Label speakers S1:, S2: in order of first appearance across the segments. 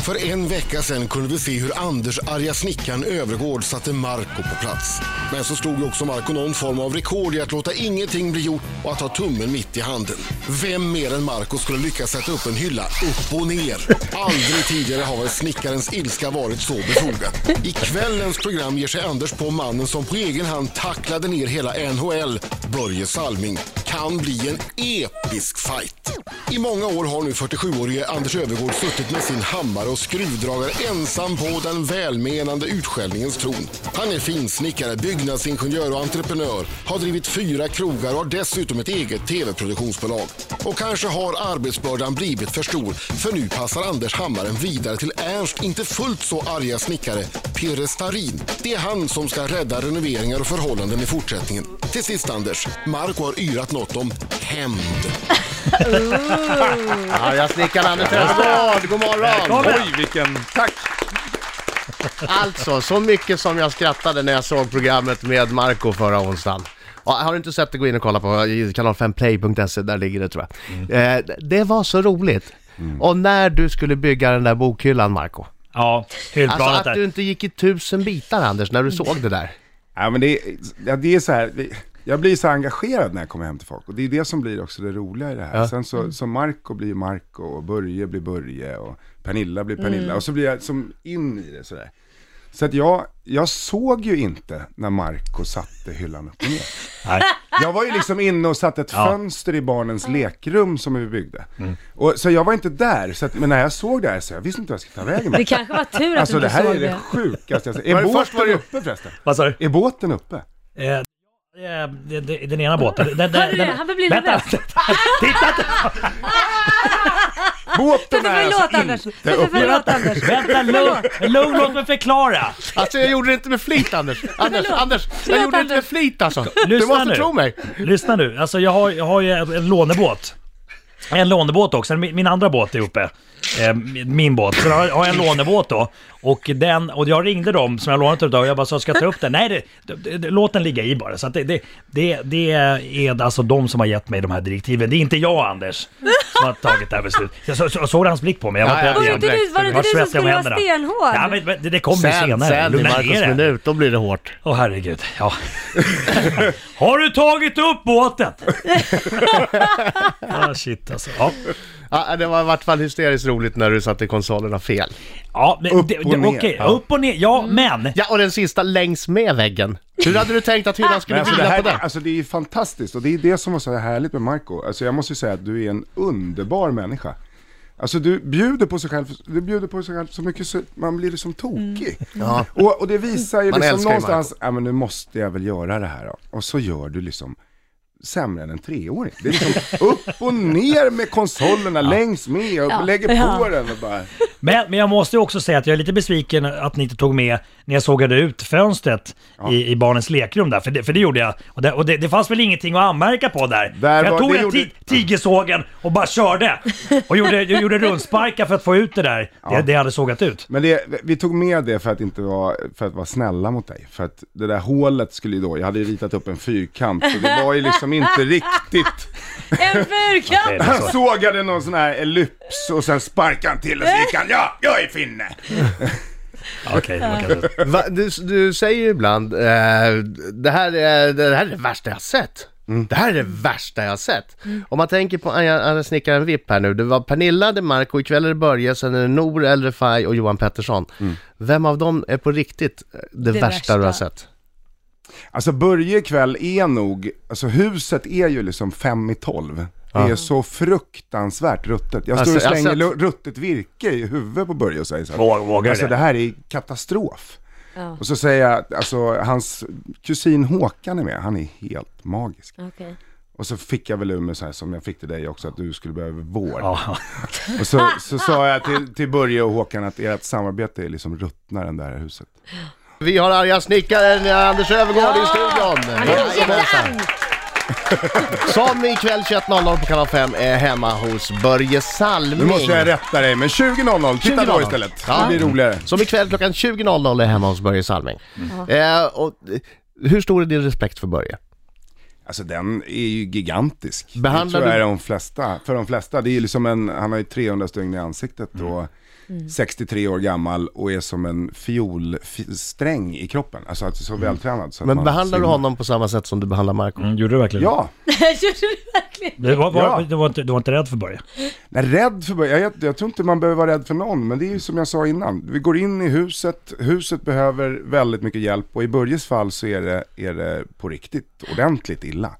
S1: För en vecka sedan kunde vi se hur Anders arga snickaren Övergård satte Marco på plats. Men så slog ju också Marco någon form av rekord i att låta ingenting bli gjort och att ha tummen mitt i handen. Vem mer än Marco skulle lyckas sätta upp en hylla upp och ner? Aldrig tidigare har väl snickarens ilska varit så befogad. I kvällens program ger sig Anders på mannen som på egen hand tacklade ner hela NHL, Börje Salming kan bli en episk fight. I många år har nu 47-årige Anders Övergård suttit med sin hammare och skruvdragare ensam på den välmenande utskällningens tron. Han är finsnickare, byggnadsingenjör och entreprenör, har drivit fyra krogar och har dessutom ett eget tv-produktionsbolag. Och kanske har arbetsbördan blivit för stor, för nu passar Anders hammaren vidare till Ernst inte fullt så arga snickare, Pere Starin. Det är han som ska rädda renoveringar och förhållanden i fortsättningen. Till sist Anders, Marco har yrat något om hämnd.
S2: Ja, jag snickar Anders Östergård, god morgon!
S3: Oj, vilken... Tack!
S2: Alltså, så mycket som jag skrattade när jag såg programmet med Marco förra onsdagen. Ja, har du inte sett det, gå in och kolla på eh, kanal5play.se, där ligger det tror jag. Eh, det var så roligt! Och när du skulle bygga den där bokhyllan, Marco.
S3: Ja, hyllplanet
S2: Alltså att
S3: där.
S2: du inte gick i tusen bitar, Anders, när du såg det där.
S4: Ja, men det, är- ja, det är så här, det- jag blir så engagerad när jag kommer hem till folk. Och det är det som blir också det roliga i det här. Sen
S5: Mm.
S4: så, så Marco blir Marco och Börje blir Börje och Pernilla blir
S5: Mm.
S4: Pernilla. Och så blir jag som in i det sådär. Så att jag, jag såg ju inte när Marco satte hyllan upp och ner.
S3: Nej.
S4: Jag var ju liksom inne och satte ett fönster i barnens lekrum som vi byggde.
S2: Mm.
S4: Och, så jag var inte där, så att, men när jag såg det här så jag visste inte vad jag skulle ta vägen
S5: Det
S4: med.
S5: kanske var tur att
S4: Alltså
S5: du
S4: det
S5: inte
S4: här
S5: såg
S4: är
S5: det.
S4: det sjukaste jag sett. Är
S2: det först var
S4: båten
S2: det-
S4: uppe förresten?
S3: Vad sa du?
S4: Är båten uppe?
S3: Eh, eh, det- det- Den ena båten. Den- den-
S5: Hörde du
S3: den-
S5: det? Han blir
S3: Vänta!
S5: livrädd.
S3: Titta inte!
S4: Båten
S5: Peter,
S4: är
S5: förlåt
S4: alltså
S5: Anders.
S4: inte
S5: Peter,
S4: uppe.
S5: förlåt Anders.
S3: Vänta, lugn! Lugn, låt mig förklara!
S2: Alltså jag gjorde det inte med flit, Anders. Anders, Anders, jag
S5: Förlåt,
S2: gjorde det inte med
S5: Anders.
S2: flit alltså. Du
S3: Lyssna
S2: måste
S3: nu.
S2: tro mig.
S3: Lyssna nu, alltså jag har, jag har ju en en lånebåt. En lånebåt också, min min andra båt är uppe. Eh, min- Min båt. Så har jag har jag en lånebåt då. Och, den, och jag ringde dem som jag lånat utav och jag bara så ska jag ta upp den? Nej, det, det, det, låt den ligga i bara. Så att det, det, det, det är alltså de som har gett mig de här direktiven. Det är inte jag Anders som har tagit det här beslutet. Jag så, så, såg hans blick på mig. Jag var
S2: Ja,
S3: inte
S2: ja.
S3: rädd
S5: Var det
S3: igen.
S5: inte du, var det
S3: Jag var
S5: inte du som
S3: svettig om
S5: skulle vara
S3: händerna.
S5: stenhård?
S3: Ja, men, men det- det kommer ju
S2: Sen,
S3: senare.
S2: sen i
S3: Lugna ner
S2: Marcos
S3: dig.
S2: minut, då blir det hårt.
S3: Åh herregud, ja. Har du tagit upp båten? ah, shit alltså. Ja,
S2: Ja, det var i vart fall hysteriskt roligt när du satte konsolerna fel.
S3: ja men
S4: Upp
S3: det-
S4: och
S3: det-
S4: ner.
S3: okej,
S4: Ja.
S3: upp och ner. Ja, men.
S2: Ja, och den sista längs med väggen. Hur hade du tänkt att hyllan
S4: Men
S2: skulle
S4: alltså det,
S2: vila på
S4: här,
S2: den?
S4: alltså det är ju fantastiskt och det är det som var så härligt med Marco. Alltså jag måste ju säga att du är en underbar människa. Alltså du bjuder på sig själv, du bjuder på sig själv så mycket så man blir liksom tokig.
S5: Mm.
S4: Och, och det visar ju
S2: Man
S4: liksom
S2: älskar ju
S4: någonstans, ja men nu måste jag väl göra det här då. Och så gör du liksom sämre än en treåring. Det är liksom upp och ner med konsolerna längs med och lägger på
S5: Ja.
S4: den och bara...
S3: men. Men jag måste ju också säga att jag är lite besviken att ni inte tog med när jag sågade ut fönstret i, i barnens lekrum där. För det, för det gjorde jag. Och, det, och det, det fanns väl ingenting att anmärka på där.
S4: Där
S3: jag
S4: var-
S3: tog
S4: det
S3: den
S4: gjorde-
S3: ti- tigersågen och bara körde. Och gjorde, jag gjorde rundsparkar för att få ut det där. Det, det jag hade sågat ut.
S4: Men det, vi tog med det för att inte vara, för att vara snälla mot dig. För att det där hålet skulle ju då, jag hade ju ritat upp en fyrkant så det var ju liksom inte riktigt.
S5: En fyrkant!
S4: Han
S3: alltså,
S2: Alltså.
S4: sågade någon sån här ellyps och sen sparkade han till och så gick han, ja, jag är finne!
S3: Okej, det var kanske-
S2: Va, du, du säger ju ibland, eh, det, här är, det här är det värsta jag har sett. Det här är det värsta jag har sett. Om man tänker på Anja- Anja Snickaren Vipp här nu, det var Pernilla, det är Marco, ikväll är det Börje, sen är det Nor, El Refai och Johan Pettersson. Vem av dem är på riktigt det,
S5: Det
S2: värsta, du har
S5: värsta.
S2: sett?
S4: Alltså Börje ikväll är nog, alltså huset är ju liksom fem i tolv. Det är så fruktansvärt ruttet. Jag står
S2: Alltså,
S4: och
S2: jag har
S4: slänger
S2: sett-
S4: lu- ruttet virke i huvudet på Börje och säger så här,
S3: Vå- vågar
S4: alltså
S3: det?
S4: det här är katastrof. Och så säger jag, alltså hans kusin Håkan är med, han är helt magisk.
S5: Okej.
S4: Och så fick jag väl ur mig så här som jag fick till dig också, att du skulle behöva vård.
S3: Ja.
S4: Och så, så sa jag till, till Börje och Håkan att ert samarbete är liksom ruttnaren där i huset.
S2: Vi har arga snickaren eh, Anders Öfvergård i studion.
S5: Han är jättearg!
S2: Som ikväll 21.00 på kanal 5 är hemma hos Börje Salming.
S4: Nu måste jag rätta dig, men 20.00, titta
S2: 20.00.
S4: då istället.
S2: Ja. Mm.
S4: Det blir roligare.
S2: Som ikväll klockan 20.00 är hemma hos Börje Salming. Eh, och, eh, hur stor är din respekt för Börje?
S4: Alltså den är ju gigantisk.
S2: Behandlar
S4: det tror jag
S2: du- Mm.
S4: är de flesta, för de flesta. Det är ju liksom en, han har ju 300 stygn i ansiktet och 63 år gammal och är som en fiolsträng i kroppen. Alltså att så vältränad. Så att
S2: Mm. Men
S4: man
S2: behandlar du
S4: simmar.
S2: honom på samma sätt som du behandlar Marco?
S3: Mm, gjorde du verkligen det?
S4: Ja,
S5: Gjorde du verkligen?
S3: Du var, var,
S4: Ja.
S3: du, var inte, du var inte rädd för Börje?
S4: Nej, rädd för jag, jag, jag tror inte man behöver vara rädd för någon, men det är ju som jag sa innan. Vi går in i huset, huset behöver väldigt mycket hjälp och i Börjes fall så är det, är det på riktigt ordentligt illa.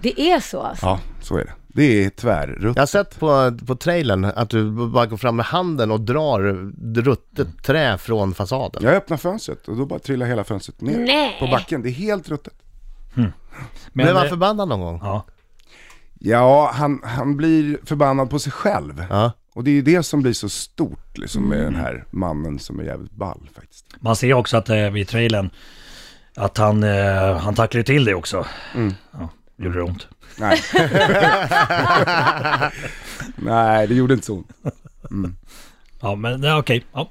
S5: Det är så alltså.
S4: Ja, så är det. Det är
S2: Jag
S4: tvärruttet.
S2: har sett på, på trailern att du bara går fram med handen och drar ruttet trä från fasaden.
S4: Jag öppnar fönstret och då bara trillar hela fönstret ner
S5: Nej.
S4: på backen. Det är helt ruttet.
S3: Men,
S2: Blev han
S3: eh,
S2: förbannad någon gång?
S3: Ja.
S4: Ja, han, han blir förbannad på sig själv.
S2: Ja.
S4: Och det är ju det som blir så stort liksom, med den här mannen som är jävligt ball faktiskt.
S3: Man ser också att eh, vid trailern att han, eh, han tacklar ju till det också.
S4: Mm.
S3: Ja, gjorde det ont?
S4: Nej. Nej, det gjorde inte så ont.
S3: Ja, men nej, okej. Ja.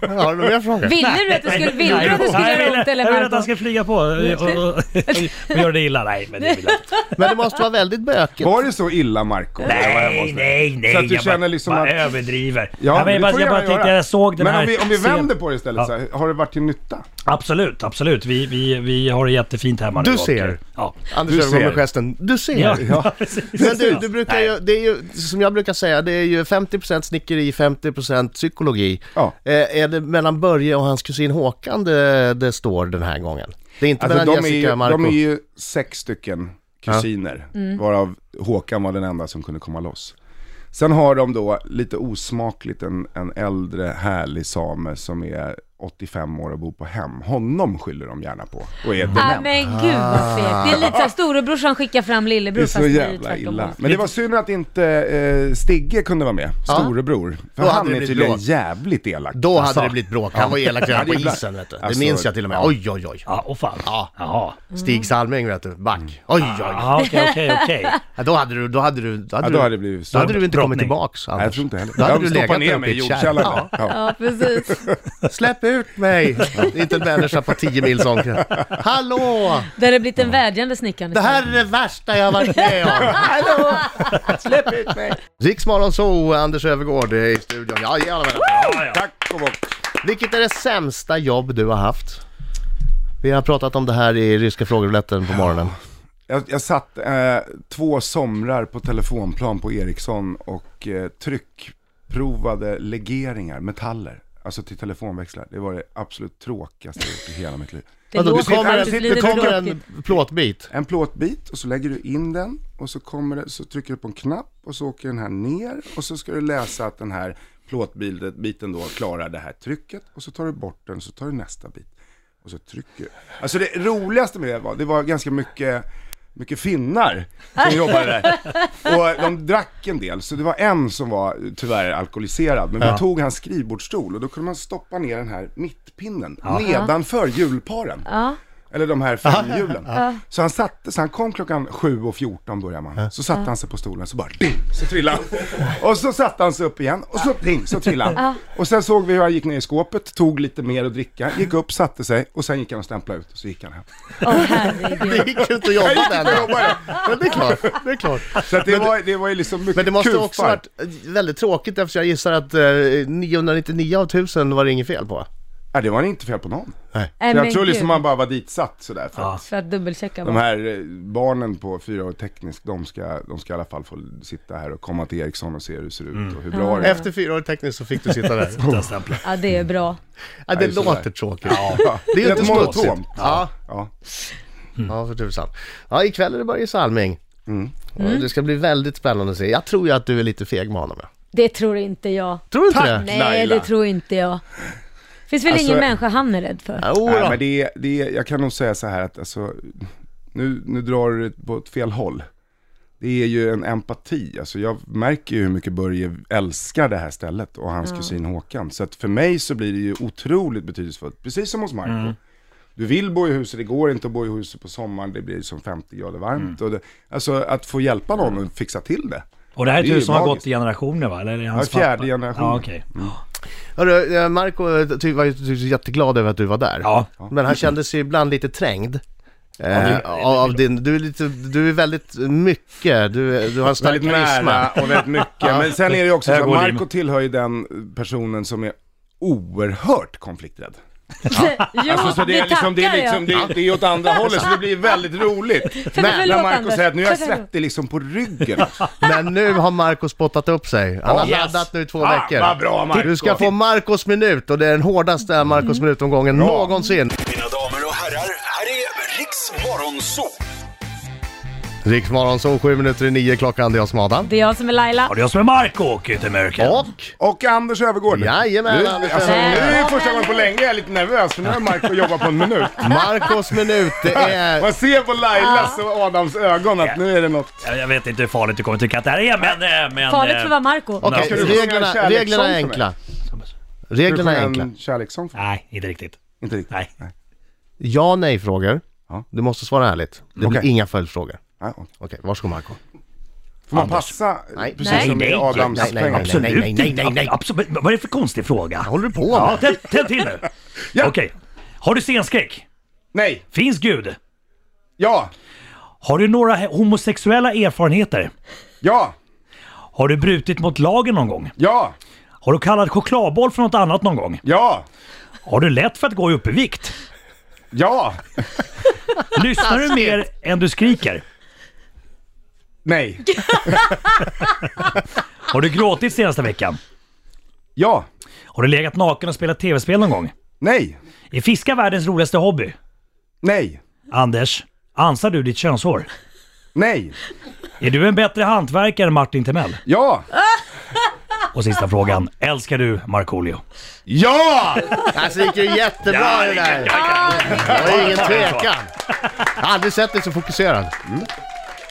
S2: Har du några mer frågor?
S5: Ville du att det skulle, ville du att det skulle
S3: Nej, jag
S5: göra
S3: ville-
S5: ont eller
S3: Jag vill att han
S5: Marco?
S3: ska flyga på och, och, och, och göra det illa. Nej, men det vill jag inte.
S2: Men det måste vara väldigt bökigt.
S4: Var det så illa Marco? Jag var hemma
S3: Nej,
S4: hos dig.
S3: nej, nej.
S4: Så att du
S3: jag
S4: känner
S3: bara,
S4: liksom
S3: bara
S4: att-
S3: överdriver.
S4: Ja,
S3: Nej,
S4: men
S3: jag
S4: det får
S3: bara, jag
S4: du
S3: bara
S4: gärna
S3: tänkte,
S4: göra.
S3: jag såg den
S4: Men
S3: här...
S4: om vi, om vi
S3: scenen.
S4: vänder på det istället,
S3: Ja.
S4: så här, har det varit till nytta?
S3: Absolut, absolut. Vi, vi, vi har det jättefint hemma
S2: Du
S3: och,
S2: ser.
S3: eh, Ja.
S2: Anders
S4: Du
S2: Öhrman med
S4: ser.
S2: gesten. Du ser!
S3: Ja,
S4: Ja.
S3: precis.
S2: Men du, du brukar
S3: Nej.
S2: ju, det är ju, som jag brukar säga, det är ju 50% snickeri, 50% psykologi.
S4: Ja.
S2: Eh, är det mellan Börje och hans kusin Håkan det, det står den här gången? Det är inte
S4: Alltså,
S2: mellan
S4: de, är ju,
S2: Jessica och Marco?
S4: de är ju sex stycken kusiner, varav Håkan var den enda som kunde komma loss. Sen har de då, lite osmakligt, en, en äldre härlig same som är 85 år och bor på hem. Honom skyller de gärna på och är
S5: Ah,
S4: dement.
S5: men gud vad fegt. Det är lite såhär storebrorsan skickar fram
S4: Det
S5: lillebror
S4: är så jävla
S5: tvärtom.
S4: illa. Men det var synd att inte eh, Stigge kunde vara med, storebror. För
S2: Då hade
S4: han
S2: det
S4: är
S2: blivit
S4: tydligen
S2: bråk.
S4: jävligt elak.
S2: Då
S3: Alltså.
S2: hade det blivit bråk. Han var elak redan på
S4: Ja, det är
S2: isen vet du. Det
S4: Alltså,
S2: minns jag till och med.
S4: ja. Mm.
S2: Oj, oj, oj.
S3: Ja, och fan.
S2: Ja.
S3: Jaha.
S2: Stig Salming vet du, back. Oj, oj, oj.
S3: Ja, Okej, okej, okej.
S2: Ja, då hade du, då hade du, då hade
S4: Ah. Ja, då
S2: du,
S4: hade det blivit
S2: då hade du inte kommit
S3: Brottning.
S2: tillbaks
S4: Nej, jag
S2: Anders.
S4: tror inte heller.
S2: Då hade
S4: jag
S2: du
S4: stoppar
S2: legat
S4: ner
S2: där
S4: mig i
S2: uppe i ett
S4: jordkällan.
S2: kärr.
S4: Ja.
S5: Ja, precis.
S2: Släpp ut mig! Det är inte en människa på 10 mils omkrets. Hallå!
S5: Det hade blivit en vädjande snickande.
S2: Det här är det värsta jag har varit med om. Hallå! Släpp ut mig! Riksmorgon så Anders Öfvergård i studion. Ja, jävlar, men.
S3: Ja, ja.
S4: Tack och bock.
S2: Vilket är det sämsta jobb du har haft? Vi har pratat om det här i ryska frågerouletten på morgonen.
S4: Jag, jag satt eh, två somrar på telefonplan på Ericsson och eh, tryckprovade legeringar, metaller. Alltså till telefonväxlar. Det var det absolut tråkigaste jag gjort i hela mitt liv.
S5: Det
S2: Vadå, det
S5: låter
S2: kommer,
S5: faktiskt
S2: det
S5: lite
S2: kommer
S5: tråkigt.
S2: en plåtbit.
S4: En plåtbit och så lägger du in den och så, kommer det, så trycker du på en knapp och så åker den här ner och så ska du läsa att den här plåtbiten då klarar det här trycket och så tar du bort den och så tar du nästa bit och så trycker du. Alltså det roligaste med det var, det var ganska mycket, mycket finnar som jobbade där. Och de drack en del, så det var en som var tyvärr alkoholiserad. Men vi tog hans skrivbordsstol och då kunde man stoppa ner den här mittpinnen nedanför hjulparen.
S5: Ja.
S4: Eller de här framhjulen. Så han satte, så han kom klockan 7.14 började man. Så satte han sig på stolen så bara ding, så trillade han. Och så satte han sig upp igen och så ding, så trillade han. Och sen såg vi hur han gick ner i skåpet, tog lite mer att dricka, gick upp, satte sig och sen gick han och stämplade ut och så gick han hem.
S5: Åh herregud.
S2: Det gick ju inte att jobba med
S4: Jag
S2: ändå.
S4: jobbade.
S2: Men det är klart, det är klart.
S4: Så att det, var, det var ju liksom mycket
S2: Men det måste
S4: kufar.
S2: också varit eh, väldigt tråkigt eftersom jag gissar att eh, 999 av 1000 var det inget fel på.
S4: Ja, det var inte fel på någon.
S5: Nej,
S4: Så jag
S5: men
S4: tror liksom
S5: gud.
S4: man bara var ditsatt sådär för att
S5: För att dubbelchecka
S4: De
S5: bara.
S4: här eh, barnen på fyra år teknisk, de ska, de ska i alla fall få sitta här och komma till Ericsson och se hur det ser ut
S2: Mm.
S4: och hur bra det är.
S2: Efter fyra år tekniskt så fick du sitta där.
S3: Den stämplar.
S5: Ja, det är bra.
S2: Ja, det
S4: Ja, just det
S2: låter
S4: där.
S2: tråkigt. Det är ju inte
S4: Ett monotont.
S2: smutsigt. Ja.
S4: Ja.
S2: Mm. ja, för tusan. Ja, ikväll är det Börje Salming. Och det ska bli väldigt spännande att se. Jag tror ju att du är lite feg med honom. ja.
S5: Det tror inte jag.
S2: Tror du inte
S4: Tack.
S2: det?
S5: Nej,
S4: Laila.
S5: det tror inte jag. Finns väl
S4: Alltså-
S5: ingen människa han är rädd för?
S2: Ja, jo
S4: Nej,
S2: då.
S4: men det är, det är, jag kan nog säga så här att alltså, nu, nu drar du det på ett fel håll. Det är ju en empati, alltså jag märker ju hur mycket Börje älskar det här stället och hans kusin Håkan. Så att för mig så blir det ju otroligt betydelsefullt, precis som hos Marco.
S3: Mm.
S4: Du vill bo i huset, det går inte att bo i huset på sommaren, det blir som 50 grader
S3: Mm.
S4: varmt. Och det, alltså att få hjälpa någon att fixa till det.
S3: Och det här är ett
S4: Det är
S3: hus som har
S4: magiskt.
S3: gått i generationer va? Eller är det hans
S4: Ja, fjärde
S3: pappa?
S4: generation.
S3: Ja, okej.
S2: Hörru, eh, Marco eh, ty- var ju ty- jätteglad över att du var där.
S3: Ja.
S2: Men han kände sig ibland lite trängd. Eh, av av din, du, är lite, du är väldigt mycket, du, du har en stark
S4: Väldigt nära
S2: karisma.
S4: och väldigt mycket. Men sen är det ju också
S3: Här
S4: så att
S3: går
S4: Marco
S3: Jim.
S4: tillhör ju den personen som är oerhört konflikträdd.
S5: Jo,
S4: Alltså, så det är liksom, det är liksom, det är, det är åt andra hållet, så det blir väldigt roligt.
S5: Men- förlåt,
S4: när Marco
S5: Anders.
S4: säger att nu är jag
S5: Förlåt.
S4: svettig liksom på ryggen.
S2: Men nu har Marco spottat upp sig. Han har
S4: Yes.
S2: laddat nu i två
S4: Ah,
S2: veckor.
S4: vad bra, Marco. Mm.
S2: Du ska få Marcos minut och det är den hårdaste Marcos minutomgången någonsin.
S6: Mina damer och herrar, här är Riks Morgonzoo!
S2: Riksmorgon så 7 minuter i 9 klockan, det är jag som är
S4: liksom-
S2: Adam.
S5: Det är jag som är Laila.
S3: Ja, det är jag som är Marco och inte American.
S2: Och
S4: Och Anders Öfvergård.
S2: Jajamän,
S4: nu,
S2: Anders
S4: alltså, nu är det
S5: Öfvergård.
S4: första gången på länge jag är lite nervös, för nu har Marco jobbat på en minut.
S2: Marcos minut, det är...
S4: Man ser på Lailas och Adams ögon att nu är det något.
S3: Jag, jag vet inte hur farligt du kommer tycka att det här är, men... eh, men
S5: Farligt för
S3: eh,
S5: att vara Marco.
S2: Okej,
S4: Ska du sjunga en
S2: reglerna,
S4: kärlekssång
S2: reglerna är
S4: för mig?
S2: enkla.
S4: Ska du
S2: Reglerna
S4: sjunga
S2: är enkla.
S4: en kärlekssång? för mig?
S3: Nej, inte riktigt.
S4: Inte riktigt.
S3: Nej.
S2: Ja nej frågor.
S4: Ja.
S2: Du måste svara ärligt. Det blir
S4: Okej.
S2: inga följdfrågor.
S4: Nej, okej.
S2: Okej, varsågod Marco.
S4: Får man passa? eh,
S2: Nej.
S4: Precis
S5: Nej.
S4: som
S3: Nej,
S4: med
S3: nej,
S4: Adams
S2: nej, nej,
S4: pengar.
S2: nej, nej.
S3: Absolut inte. Ab- Absolut. Vad är det för konstig fråga?
S2: Vad håller du på
S3: Ja,
S2: med?
S3: tänd, tänd till nu.
S4: Ja.
S3: Okej. Har du stenskräck?
S4: Nej.
S3: Finns Gud?
S4: Ja.
S3: Har du några he- homosexuella erfarenheter?
S4: Ja.
S3: Har du brutit mot lagen någon gång?
S4: Ja.
S3: Har du kallat chokladboll för något annat någon gång?
S4: Ja.
S3: Har du lätt för att gå upp i vikt?
S4: Ja.
S3: Lyssnar du mer än du skriker?
S4: Nej.
S3: Har du gråtit senaste veckan?
S4: Ja.
S3: Har du legat naken och spelat tv-spel någon gång?
S4: Nej.
S3: Är fiska världens roligaste hobby?
S4: Nej.
S3: Anders, ansar du ditt könshår?
S4: Nej.
S3: Är du en bättre hantverkare än Martin Timell?
S4: Ja.
S3: Och sista frågan, älskar du Markoolio?
S4: Ja!
S2: Alltså det gick ju jättebra det där.
S5: Ah!
S2: Det var ingen tvekan. Jag har aldrig sett dig så fokuserad.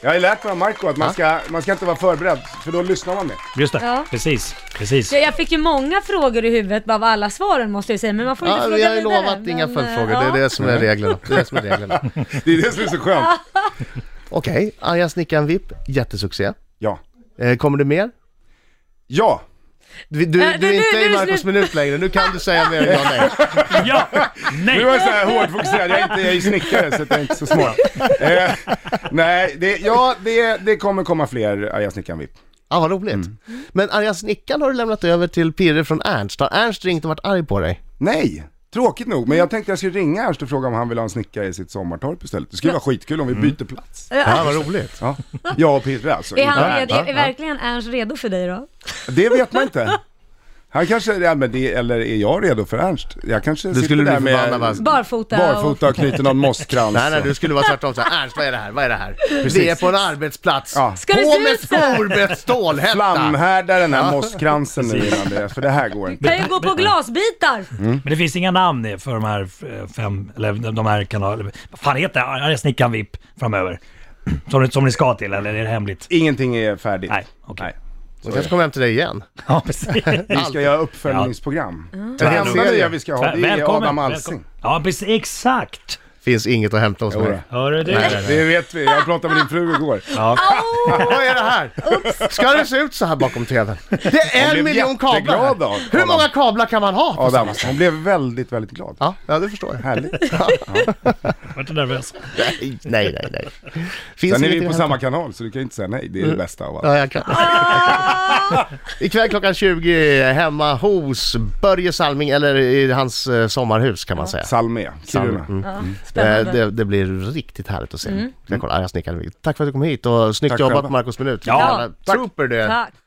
S4: Jag har ju lärt mig av Marco att man ska, man ska inte vara förberedd, för då lyssnar man mer.
S3: Just det,
S5: Ja.
S3: precis. precis.
S5: Ja, jag fick ju många frågor i huvudet bara av alla svaren måste jag säga, men man får inte
S2: Ja,
S5: fråga
S2: vi har ju
S5: vidare,
S2: lovat inga
S5: men,
S2: följdfrågor.
S5: eh,
S2: Det
S5: ja.
S2: är det som är reglerna. Det är det som är reglerna.
S4: Det är det som är så skönt.
S2: Okej, Arga snickaren VIP, jättesuccé.
S4: Ja.
S2: Eh, Kommer det mer?
S4: Ja.
S2: Du, du,
S5: Äh,
S2: du
S5: nu-
S2: är inte
S5: nu
S2: i
S5: är det
S2: Marcos
S5: slut.
S2: minut längre, nu kan du säga mer än jag nej.
S3: Ja!
S4: Nu var
S3: Nej!
S4: jag så här hårdfokuserad, jag är, inte, jag är ju snickare så att jag är inte så smart. Eh, nej, det, ja, det, det kommer komma fler Arga snickaren VIP.
S2: Ja, vad roligt. Men arga snickaren har du lämnat över till Pirre från Ernst. Har Ernst ringt och varit arg på dig?
S4: Nej, tråkigt nog. Men jag tänkte jag skulle ringa Ernst och fråga om han vill ha en snickare i sitt sommartorp istället. Det skulle vara skitkul om vi byter plats.
S2: Ja, vad roligt.
S4: Ja, jag och Pirre alltså.
S5: Mm. Är,
S4: inte Ernst.
S5: han redo, är, är verkligen Ernst redo för dig då?
S4: Det vet man inte. Han kanske, ja, men det, eller är jag redo för Ernst? Jag kanske sitter
S2: skulle bli
S4: där
S2: förbannad, alltså. va?
S4: med
S5: Barfota, och...
S4: barfota och knyter någon mosskrans.
S2: Nej, nej, du skulle vara tvärtom såhär, Ernst vad är det här, vad är det här? Vi är på en arbetsplats.
S4: Ja.
S5: Ska det
S2: på
S5: se
S2: med
S5: ut så här?
S2: skor med stålhätta!
S4: Flamhärda den här mosskransen nu innan det, för det här går inte.
S5: Kan ju gå på glasbitar!
S3: Men det finns inga namn för de här eh, fem, eller de här kanalerna. Vad fan heter det? Arga snickaren VIP framöver? Som, ni- som ni ska till, eller är det hemligt?
S4: Ingenting är färdigt.
S3: Nej, okej.
S4: Nej.
S2: De kanske kommer hem till dig igen.
S3: Ja, precis.
S4: Vi ska göra uppföljningsprogram. Den
S2: Tvärtom.
S4: enda nya vi ska ha, det är Adam Alsing.
S3: välkommen. Ja, precis. Exakt!
S2: Finns inget att hämta hos
S4: Jodå.
S2: mig.
S3: Hör du?
S4: Det vet vi, jag pratade med din fru igår.
S2: Vad är det här? Ska det se ut så här bakom TVn? Det är
S4: blev
S2: en miljon kablar!
S4: jätteglad av
S2: Hur
S4: honom.
S2: många kablar kan man ha? på
S4: Adam,
S2: samma sätt?
S4: hon blev väldigt, väldigt glad.
S2: Ja, ja, det förstår jag.
S4: Härligt.
S3: Jag vart nervös.
S2: Nej, nej, nej. Finns
S4: Sen är
S2: inget
S4: vi
S2: att hämta.
S4: på samma kanal så du kan ju inte säga nej, det är det
S2: Mm.
S4: bästa av allt.
S2: Ja, jag kan.
S5: Ah!
S2: Ikväll klockan 20 hemma hos Börje Salming, eller i hans eh, sommarhus kan man säga.
S4: Salmé, Kiruna.
S5: Ja,
S2: Eh,
S5: spännande.
S2: Det, det blir riktigt härligt att se. Mm. Jag kollar, arga snickaren. Tack för att du kom hit och snyggt
S4: Tack
S2: jobbat
S4: själva.
S2: Marcos minut.
S3: Ja,
S2: Jävla
S4: tack.
S2: Trooper du är.
S5: Tack.